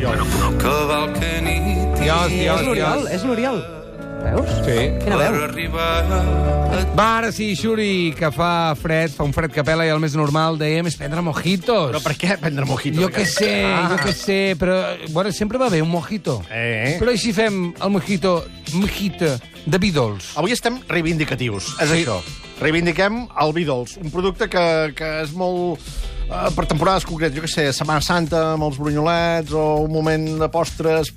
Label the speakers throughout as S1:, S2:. S1: l'Oriol.
S2: Dios,
S3: És
S2: dios,
S3: l'Oriol,
S2: dios.
S3: és l'Oriol. Veus?
S2: Sí.
S3: Quina veu?
S2: Va, ara sí, Xuri, que fa fred, fa un fred que pela i el més normal, dèiem, és prendre mojitos.
S1: Però per què prendre mojito?
S2: Jo què sé,
S3: ah.
S2: jo què sé, però... Bueno, sempre va bé un mojito.
S1: Eh.
S2: Però així fem el mojito, mojita, de vi dolç.
S1: Avui estem reivindicatius. És
S2: Sí.
S1: això. Reivindiquem el vi dolç, un producte que, que és molt... eh, per temporades concretes, jo què sé, Setmana Santa amb els brunyolets o un moment de postres,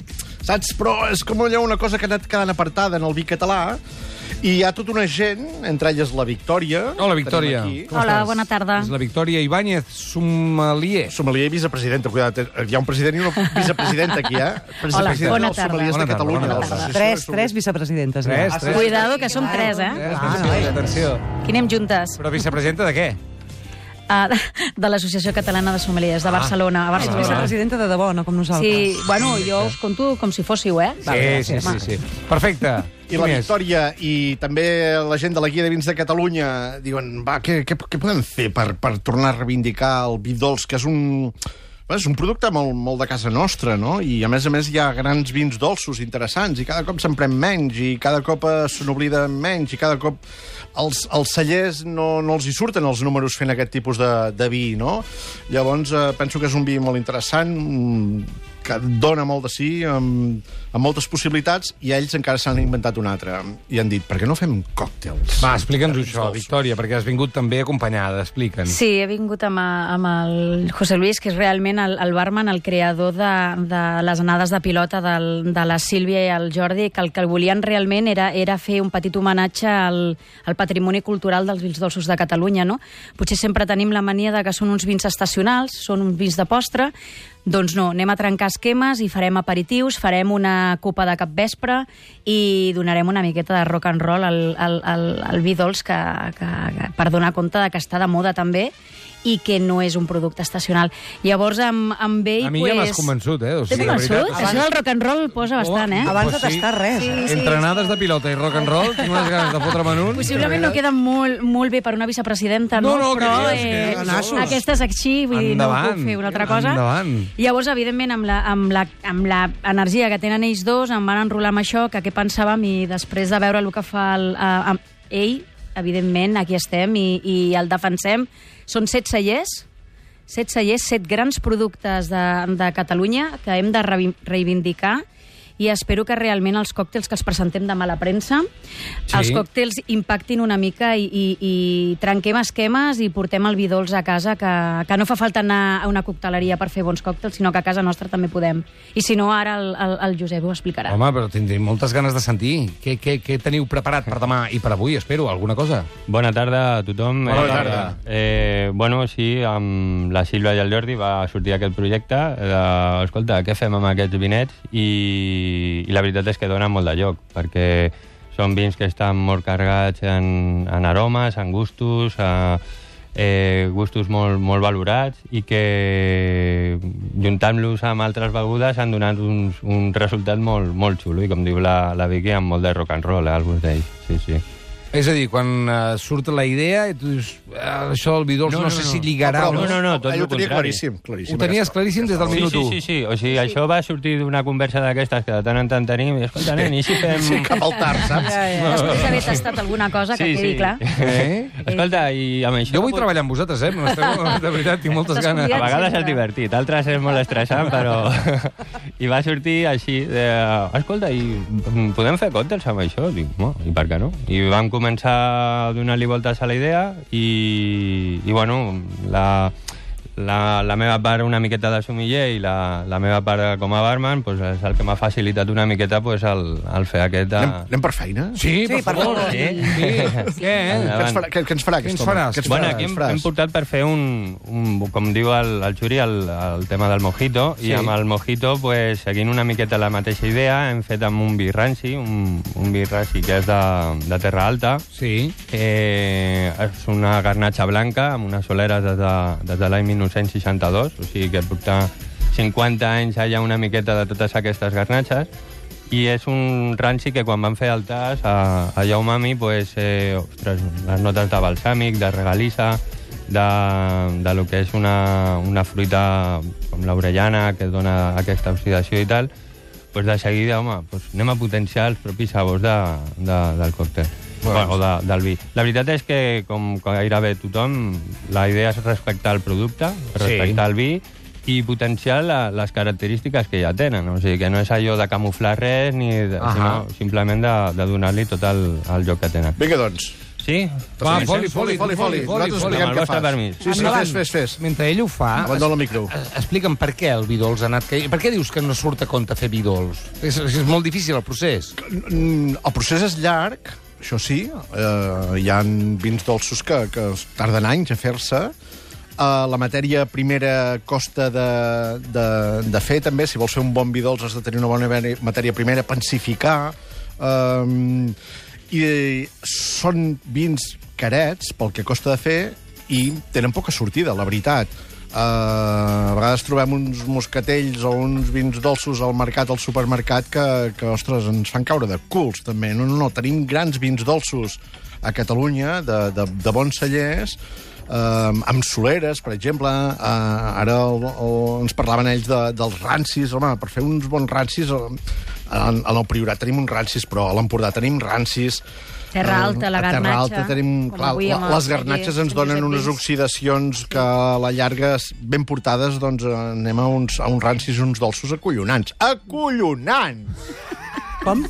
S1: saps? Però és com allò una cosa que ha anat quedant apartada en el vi català i hi ha tota una gent, entre elles la Victòria.
S2: Hola, Victòria.
S1: Tenim aquí.
S2: Com
S4: Hola,
S2: estàs?
S4: bona tarda.
S2: És la Victòria Ibáñez, sommelier.
S1: Sommelier i vicepresidenta, cuidat, eh, hi ha un president i una vicepresidenta aquí, eh? Vicepresidenta
S4: bona
S1: dels
S4: tarda.
S1: sommeliers
S2: Bona tarda,
S1: de Catalunya.
S2: bona
S1: de
S2: tarda.
S1: l'Associació
S3: Tres,
S1: de
S3: tres vicepresidentes.
S2: Tres,
S3: Ah, sí?
S2: tres.
S4: Cuidado, que som tres, eh?
S2: Eh, atenció, atenció.
S4: Que anem juntes.
S2: Però vicepresidenta de què?
S4: Ah, de l'Associació Catalana de Sommeliers
S2: Ah.
S4: de Barcelona. A Barcelona.
S3: Vicepresidenta de debò, no com nosaltres.
S4: Sí, bueno, jo us conto com si fóssiu, eh?
S2: Sí, sí, sí, sí. Perfecte.
S1: I la
S2: Qui més?
S1: Victòria i també la gent de la Guia de Vins de Catalunya diuen, va, què, què, què podem fer per, per tornar a reivindicar el vi dolç, que és un... bé, És un producte molt, molt de casa nostra, no? I, a més a més, hi ha grans vins dolços interessants, i cada cop se'n pren menys, i cada cop eh, se n'oblida menys, i cada cop els, els cellers no, no els hi surten els números fent aquest tipus de, de vi, no? Llavors, eh, penso que és un vi molt interessant, mm, que dona molt de sí, amb, amb moltes possibilitats, i ells encara s'han inventat una altra. I han dit, per què no fem còctels?
S2: Va, explica'ns això, Victòria, perquè has vingut també acompanyada, explica'ns.
S4: Sí, he vingut amb, amb el José Luis, que és realment el, el barman, el creador de, de les anades de pilota del, de la Sílvia i el Jordi, que el que volien realment era, era fer un petit homenatge al, al patrimoni cultural dels vins dolços de Catalunya. No? Potser sempre tenim la mania de que són uns vins estacionals, són uns vins de postre, doncs no, anem a trencar esquemes i farem aperitius, farem una copa de capvespre i donarem una miqueta de rock and roll al, al, al, al vi dolç que, que, que, per donar compte de que està de moda també i que no és un producte estacional. Llavors, amb, amb ell...
S2: A mi
S4: pues...
S2: ja m'has convençut, eh? O
S4: T'he
S2: la
S4: convençut?
S2: veritat-
S4: Això del rock and roll posa bastant, eh?
S3: Abans de tastar res,
S2: Sí,
S3: eh?
S2: sí, Entrenades de pilota i rock and roll, tinc unes ganes de fotre'm en un.
S4: Possiblement no queda molt, molt bé per una vicepresidenta, no?
S2: No, no, que
S4: però eh,
S2: digues, que nassos.
S4: aquesta és així, vull dir, no
S2: Endavant,
S4: puc fer una altra cosa.
S2: endavant.
S4: Llavors, evidentment, amb la, amb, la, amb la energia que tenen ells dos, em van enrolar amb això, que què pensàvem, i després de veure el que fa el, eh, amb ell, evidentment, aquí estem i, i el defensem. Són set cellers, set cellers, set grans productes de, de Catalunya que hem de revi- reivindicar i espero que realment els còctels que els presentem demà a la premsa,
S2: Sí.
S4: sí. els còctels impactin una mica i, i, i trenquem esquemes i portem el vi dolç a casa, que, que no fa falta anar a una cocteleria per fer bons còctels, sinó que a casa nostra també podem. I si no, ara el, el, el Josep ho explicarà.
S2: Home, però tindré moltes ganes de sentir. Què, què, què teniu preparat per demà i per avui, espero? Alguna cosa?
S5: Bona tarda a tothom.
S2: Bona
S5: Eh,
S2: tarda.
S5: Eh, bueno, sí, amb la Sílvia i el Jordi va sortir aquest projecte. De, escolta, què fem amb aquests vinets? I, I la veritat és que donen molt de lloc, perquè són vins que estan molt carregats en, en aromes, en gustos, eh, eh, gustos molt, molt valorats i que juntant-los amb altres begudes han donat uns, un resultat molt, molt xulo i com diu la, la Vicky, amb molt de rock and roll, eh, alguns d'ells. Sí, sí.
S2: És a dir, quan eh, surt la idea, i tu dius, eh, això del Vidolf no, no, no, sé si lligarà... o
S5: No, no, no, tot
S1: Ell
S5: el
S1: ho tenia
S5: contrari.
S1: claríssim, claríssim.
S2: Ho tenies claríssim des del
S5: Sí,
S2: minut
S5: sí,
S2: 1.
S5: sí, sí. O sigui, sí. això va sortir d'una conversa d'aquestes que de tant en tant tenim. I, escolta, nen, i si fem...
S1: Sí, cap al tard, saps?
S4: Després d'haver tastat alguna cosa, que quedi clar.
S2: Eh?
S5: Escolta, i amb això...
S2: Jo vull treballar amb vosaltres, eh? M'esteu- De veritat, tinc moltes
S4: Estàs
S2: ganes.
S5: A vegades és
S4: sempre.
S5: divertit, altres és molt estressant, però... I va sortir així, de... escolta, i mm, podem fer còctels amb això? Dic, no, i per què no? I vam començar a donar-li voltes a la idea i, i bueno, la, la, la meva part una miqueta de sumiller i la, la meva part com a barman pues, és el que m'ha facilitat una miqueta pues, el, el fer aquest... De...
S1: Anem, anem per feina?
S2: Sí, per favor.
S5: favor.
S2: Sí, sí. Què, eh?
S1: Què ens farà, què, què ens farà
S2: Què ens
S1: aquest home?
S2: faràs?
S1: Què ens
S5: Bueno,
S1: farà?
S5: aquí
S1: Què ens
S5: hem,
S1: faràs?
S5: hem portat per fer un, un com diu el, el Xuri, el, el tema del mojito,
S2: Sí.
S5: i amb el mojito, pues, seguint una miqueta la mateixa idea, hem fet amb un vi ranci, un, un vi ranci que és de, de Terra Alta,
S2: Sí.
S5: Eh, és una garnatxa blanca amb unes soleres des de, des de l'any 1962, o sigui que porta 50 anys allà una miqueta de totes aquestes garnatxes, i és un ranci que quan van fer el tas a, a Yaumami, pues, eh, ostres, les notes de balsàmic, de regalissa, de, de lo que és una, una fruita com l'orellana que dona aquesta oxidació i tal, pues de seguida, home, pues anem a potenciar els propis sabors de, de, del còctel. Bueno, o de, del vi. La veritat és que, com gairebé tothom, la idea és respectar el producte, respectar sí. el vi i potenciar la, les característiques que ja tenen. O sigui, que no és allò de camuflar res, ni de,
S2: Ahà.
S5: sinó simplement de, de donar-li tot el, el joc que tenen.
S1: Vinga, doncs.
S5: Sí?
S2: Va,
S1: Sí,
S2: foli,
S1: sí,
S2: foli,
S1: foli,
S2: foli,
S1: foli.
S2: foli, foli.
S1: Nosaltres expliquem
S5: Amb el
S1: què
S5: vostre
S1: fas.
S5: permís.
S1: Sí, sí,
S2: Endavant.
S1: fes, fes, fes.
S2: Mentre ell ho fa...
S1: Abandona el micro.
S2: es- Explica'm per què el vi dolç ha anat... caient. Per què dius que no surt a compte fer vi dolç? És, és molt difícil el procés.
S1: Mm, El procés és llarg, això sí. Eh, hi ha vins dolços que, que es tarden anys a fer-se. Uh, la matèria primera costa de, de, de fer, també. Si vols fer un bon vi dolç has de tenir una bona mare- matèria primera, pensificar. Um, I són vins carets pel que costa de fer i tenen poca sortida, la veritat. Uh, a vegades trobem uns moscatells o uns vins dolços al mercat, al supermercat, que, que ostres, ens fan caure de culs, també. No, no, no, tenim grans vins dolços a Catalunya, de, de, de bons cellers, uh, amb soleres, per exemple. Uh, ara el, el, ens parlaven ells de, dels rancis. Home, per fer uns bons rancis, eh, en, en el Priorat tenim uns rancis, però a l'Empordà tenim rancis.
S4: Terra
S1: Eh,
S4: Alta, la
S1: a Terra
S4: garnatxa,
S1: Alta tenim...
S4: com
S1: Clar,
S4: avui
S1: la,
S4: amb el
S1: les garnatxes
S4: celler
S1: ens
S4: Sant
S1: donen
S4: Josep
S1: unes
S4: Vins.
S1: oxidacions que a la llarga, s- ben portades, doncs eh, anem a uns, a uns rancis i uns dolços acollonants. Acollonants!
S3: Com?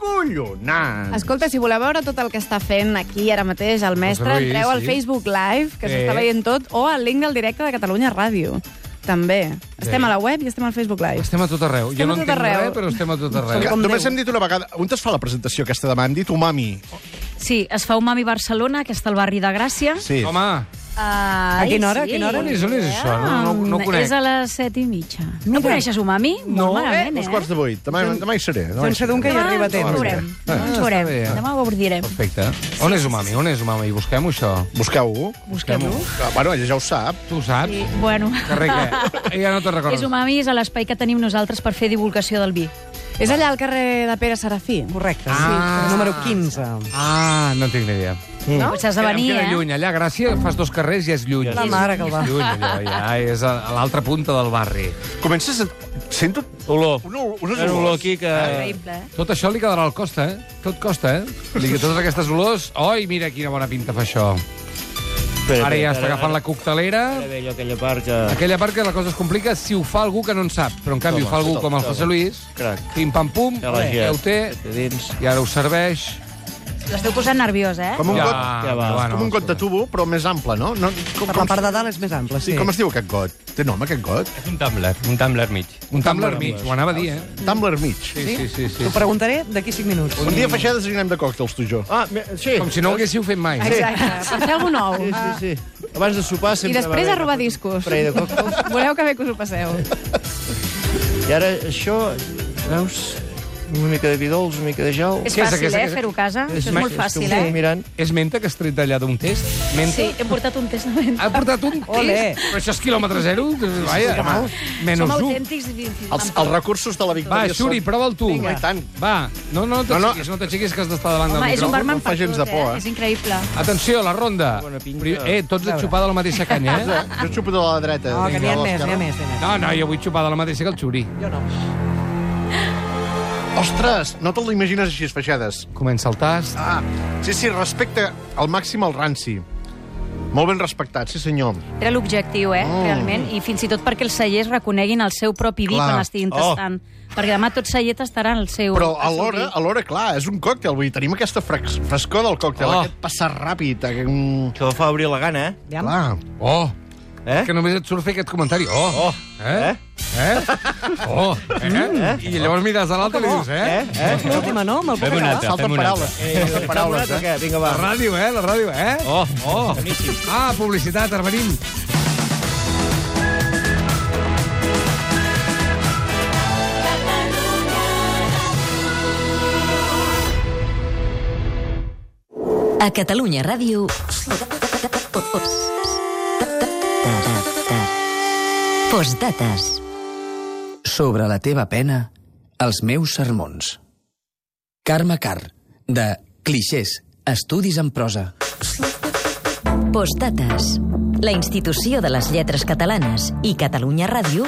S1: Acollonants!
S6: Escolta, si voleu veure tot el que està fent aquí ara mateix el mestre,
S2: José Luis,
S6: entreu al
S2: Doncs sí.
S6: Facebook Live, que
S2: Sí.
S6: s'està veient tot, o al link del directe de Catalunya Ràdio. També. Estem a la web i estem al Facebook Live.
S2: Estem a tot arreu.
S6: Estem
S2: jo no
S6: a tot
S2: entenc
S6: arreu.
S2: res, però estem a tot arreu.
S6: Som
S1: Que,
S6: com
S1: només
S6: Déu.
S1: hem dit una vegada... On es fa la presentació aquesta demà? Hem dit umami.
S4: Sí, es fa Umami Barcelona, que està al barri de Gràcia.
S1: Sí.
S2: Home,
S4: Ai, Mm,
S3: A quina hora, a quina hora?
S2: On és, on és això? No- no- no ho conec.
S4: És a les set i mitja.
S3: Mira.
S4: No coneixes Umami?
S2: No.
S4: Molt malament, eh?
S1: Dos quarts de vuit. Demà, demà hi seré. Demà hi
S3: Fem
S1: seré.
S3: doncs segur que hi
S4: Demà
S3: arriba a
S4: Ens
S3: temps.
S4: veurem. Demà ens
S2: Ah,
S4: veurem.
S2: està bé.
S4: Demà ho direm.
S2: perfecte. On és Umami? On és Umami? Busquem-ho, això.
S1: Busqueu-ho.
S4: Busquem-ho.
S1: Ah, Bueno, ella ja ho sap.
S2: Tu ho saps?
S4: Sí, bueno.
S2: Carrer què? Ja no te'n recordes.
S4: És Umami, és a l'espai que tenim nosaltres per fer divulgació del vi.
S6: És allà al carrer de Pere Serafí.
S3: Correcte.
S2: Ah.
S3: Sí, número 15.
S2: Ah, no tinc ni idea.
S4: No? S'has de venir,
S2: em queda
S4: eh?
S2: lluny, allà, Gràcia, fas dos carrers i és lluny.
S3: La mare que el va.
S2: És lluny, allò, ja, és a a l'altra punta del barri.
S1: Comences a... Sento
S5: Olor.
S1: una, unes
S5: És un olor aquí que...
S4: Increïble, eh?
S2: Tot això li quedarà al costa, eh? Tot costa, eh? Li, totes aquestes olors... Oi, mira quina bona pinta fa això. Ara ja està agafant la coctelera.
S7: Bello, aquella part que...
S2: Aquella part que la cosa es complica si ho fa algú que no en sap. Però, en canvi, ho fa algú com el José Luis.
S7: Crac.
S2: Pim-pam-pum,
S7: Ja la gent.
S2: ja ho té,
S7: Dins.
S2: i ara ho serveix.
S4: L'esteu posant nerviós, eh?
S1: Com un,
S2: Ja,
S1: got,
S7: ja va.
S2: bueno,
S1: com un got de tubo, però més ample, no? no com,
S3: Per la part de dalt és més ample, sí.
S1: sí. com es diu aquest got? Té nom, aquest got?
S5: És un tumbler, un tumbler mig.
S2: Un tumbler mig, ho anava a dir, eh?
S1: Tumbler mig.
S2: Sí, sí, sí. sí.
S3: T'ho preguntaré d'aquí 5 minuts.
S1: Un dia feixades i anem de còctels, tu i jo.
S7: Ah, me- sí.
S2: Com si no ho haguéssiu fet mai.
S6: Exacte. Per fer alguna cosa
S7: Sí,
S6: nou.
S4: Ah.
S7: sí, sí. Abans de sopar
S6: I
S7: sempre...
S6: després
S7: va
S6: a
S7: bé.
S6: robar discos.
S7: parell de còctels.
S6: Voleu que bé que us ho passeu.
S7: I ara això, veus? Una mica de vi dolç, una mica de gel.
S4: És
S2: Què és
S4: fàcil,
S2: aquest-
S4: eh,
S2: aquest-
S4: fer-ho a casa.
S7: És
S4: Això és
S7: ma-
S4: molt
S7: és
S4: fàcil,
S7: com
S4: eh?
S7: Mirant.
S2: És menta que has tret d'allà d'un test? Menta?
S4: Sí, hem portat un test de venda.
S2: Ha portat un
S3: Ole.
S2: test? Però això és quilòmetre zero? Vaja,
S4: Som
S2: menys un.
S4: autèntics. i-
S1: Els, els recursos de la
S2: Va,
S1: victòria
S2: Xuri, prova'l tu.
S1: Vinga, i tant.
S2: Va, no, no, no t'aixequis, no, t'aixequis, que has d'estar davant
S4: Home,
S2: del
S4: és un
S2: micròfon.
S1: barman
S4: barman
S1: no fa
S4: per
S1: gens
S4: tot,
S1: de por,
S4: eh?
S1: eh?
S4: És increïble.
S2: Atenció, la ronda.
S7: Bona pinta.
S2: Pri- Eh, tots a xupar de la mateixa canya, eh?
S1: Jo xupo de la dreta.
S3: No, que n'hi ha
S1: de
S3: més, n'hi
S1: l'esquerra.
S3: ha més, n'hi ha més.
S2: No, no, jo vull xupar de la mateixa que el Xuri.
S3: Jo no.
S1: Ostres, no te l'imagines així, feixades.
S2: Comença el tast.
S1: Ah, sí, sí, respecte al màxim al ranci. Molt ben respectat, sí senyor.
S4: Era l'objectiu, eh, realment, i fins i tot perquè els cellers reconeguin el seu propi vi
S1: Clar.
S4: quan estiguin tastant. Perquè demà tot celler tastarà el seu...
S1: Però
S4: el seu
S1: alhora,
S4: vi.
S1: alhora clar, és un còctel. Vull dir, tenim aquesta frex, frescor del còctel,
S2: Oh.
S1: aquest passar ràpid. eh, mm,
S7: Això fa obrir la gana,
S3: Aviam.
S1: Clar.
S2: Oh,
S7: eh?
S2: que només et surt fer aquest comentari. Oh,
S7: Oh,
S2: eh? Eh? Oh, eh? I llavors mires a l'altre i li dius, eh?
S7: Eh?
S3: És l'última, no? Me'l puc
S5: Fem
S3: acabar?
S5: una altra, fem
S1: Salten
S5: una altra.
S1: paraules. Salten paraules, eh?
S7: Què? Vinga, va.
S2: La ràdio, eh? La ràdio, eh?
S5: Oh,
S2: Oh! Ah, publicitat, ara venim.
S8: A Catalunya Ràdio... Postdates.
S9: Sobre la teva pena, els meus sermons. Carme Car, de Clixés, Estudis en prosa.
S10: Postdates. La institució de les lletres catalanes i Catalunya Ràdio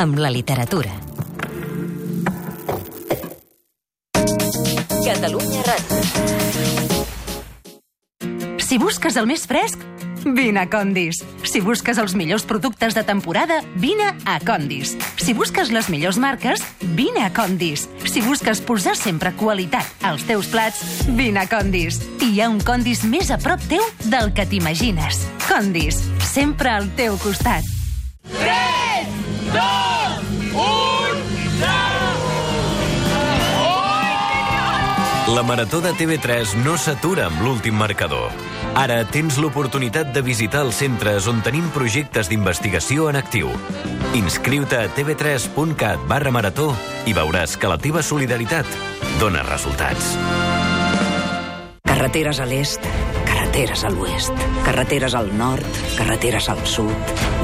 S10: amb la literatura. Catalunya Ràdio.
S4: Si busques el més fresc, vine a Condis. Si busques els millors productes de temporada, vine a Condis. Si busques les millors marques, vine a Condis. Si busques posar sempre qualitat als teus plats, vine a Condis. I hi ha un Condis més a prop teu del que t'imagines. Condis, sempre al teu costat.
S11: 3, 2, 1, 0!
S12: La Marató de TV3 no s'atura amb l'últim marcador. Ara tens l'oportunitat de visitar els centres on tenim projectes d'investigació en actiu. Inscriu-te a tv3.cat barra marató i veuràs que la teva solidaritat dona resultats.
S13: Carreteres a l'est, carreteres a l'oest, carreteres al nord, carreteres al sud.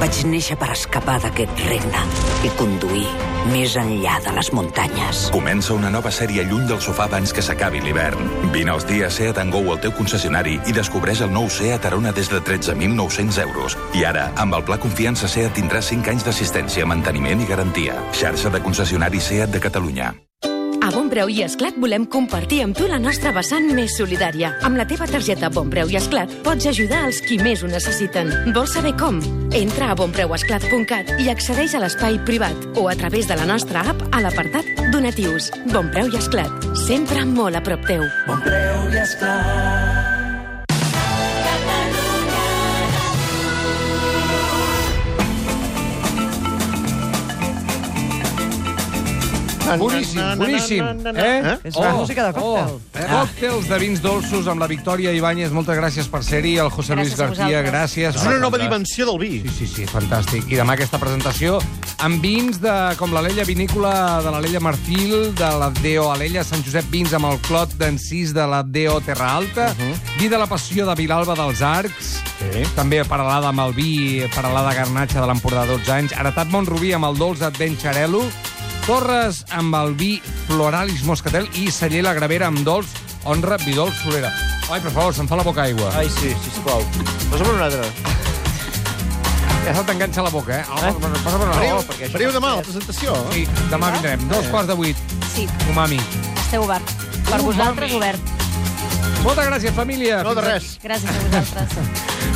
S13: Vaig néixer per escapar d'aquest regne i conduir més enllà de les muntanyes.
S14: Comença una nova sèrie lluny del sofà abans que s'acabi l'hivern. Vine als dies Seat and Go al teu concessionari i descobreix el nou Seat Arona des de 13.900 euros. I ara, amb el pla Confiança Seat tindràs 5 anys d'assistència, manteniment i garantia. Xarxa de concessionaris Seat de Catalunya.
S15: A Bon Preu i Esclat volem compartir amb tu la nostra vessant més solidària. Amb la teva targeta Bon Preu i Esclat pots ajudar els qui més ho necessiten. Vols saber com? Entra a bonpreuesclat.cat i accedeix a l'espai privat o a través de la nostra app a l'apartat Donatius. Bon Preu i Esclat, sempre molt a prop teu. Bon Preu i Esclat.
S2: Boníssim,
S1: Na, na, na,
S2: boníssim.
S1: na, na, na.
S2: Eh?
S1: Eh? És la música de còctel.
S2: Oh, eh? Còctels de vins dolços amb la Victòria Ibáñez. Moltes gràcies per ser-hi. El José Luis
S1: Gràcies a
S2: García,
S1: vosaltres.
S2: gràcies.
S1: És una nova dimensió
S2: del vi. Sí, sí, sí, fantàstic. I demà aquesta presentació amb vins de, com l'Alella Vinícola de l'Alella Marfil, de la Deo Alella, Sant Josep Vins amb el clot d'encís de la Deo Terra Alta, uh -huh. vi de la passió de Vilalba dels Arcs, sí. també paralada amb el vi, paralada garnatxa de l'Empordà 12 anys, heretat Montrubí amb el dolç Advenxarelo, Torres amb el vi Floralis Moscatel i celler La Gravera amb dolç Honra Vidol Solera. Ai, per favor, se'm fa la boca aigua.
S16: Ai, sí, sisplau. Posa per un altre.
S2: Ja se t'enganxa la boca, eh? eh? Passa per una
S1: Veniu-
S2: oh, perquè això-
S1: veniu demà a la presentació.
S17: eh?
S2: Sí, demà vindrem. Dos quarts de vuit.
S17: Sí,
S2: Umami.
S17: esteu obert. Per vosaltres, obert.
S2: Moltes gràcies, família.
S17: No, de
S2: Fins a-
S17: res. Gràcies a vosaltres.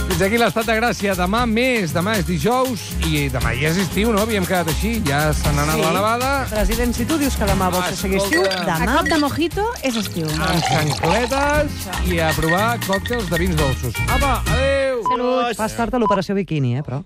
S2: Fins aquí l'estat de gràcia. Demà més. Demà és dijous i demà ja és estiu, no? Havíem quedat així. Ja se n'ha anat la nevada.
S3: President, si tu dius que demà vols que sigui estiu,
S2: Escolta.
S3: demà...
S18: A cop de mojito és estiu.
S2: amb xancletes i a provar còctels de vins dolços. Apa, adéu!
S3: Salut. Fas tard a l'operació biquini, eh, però...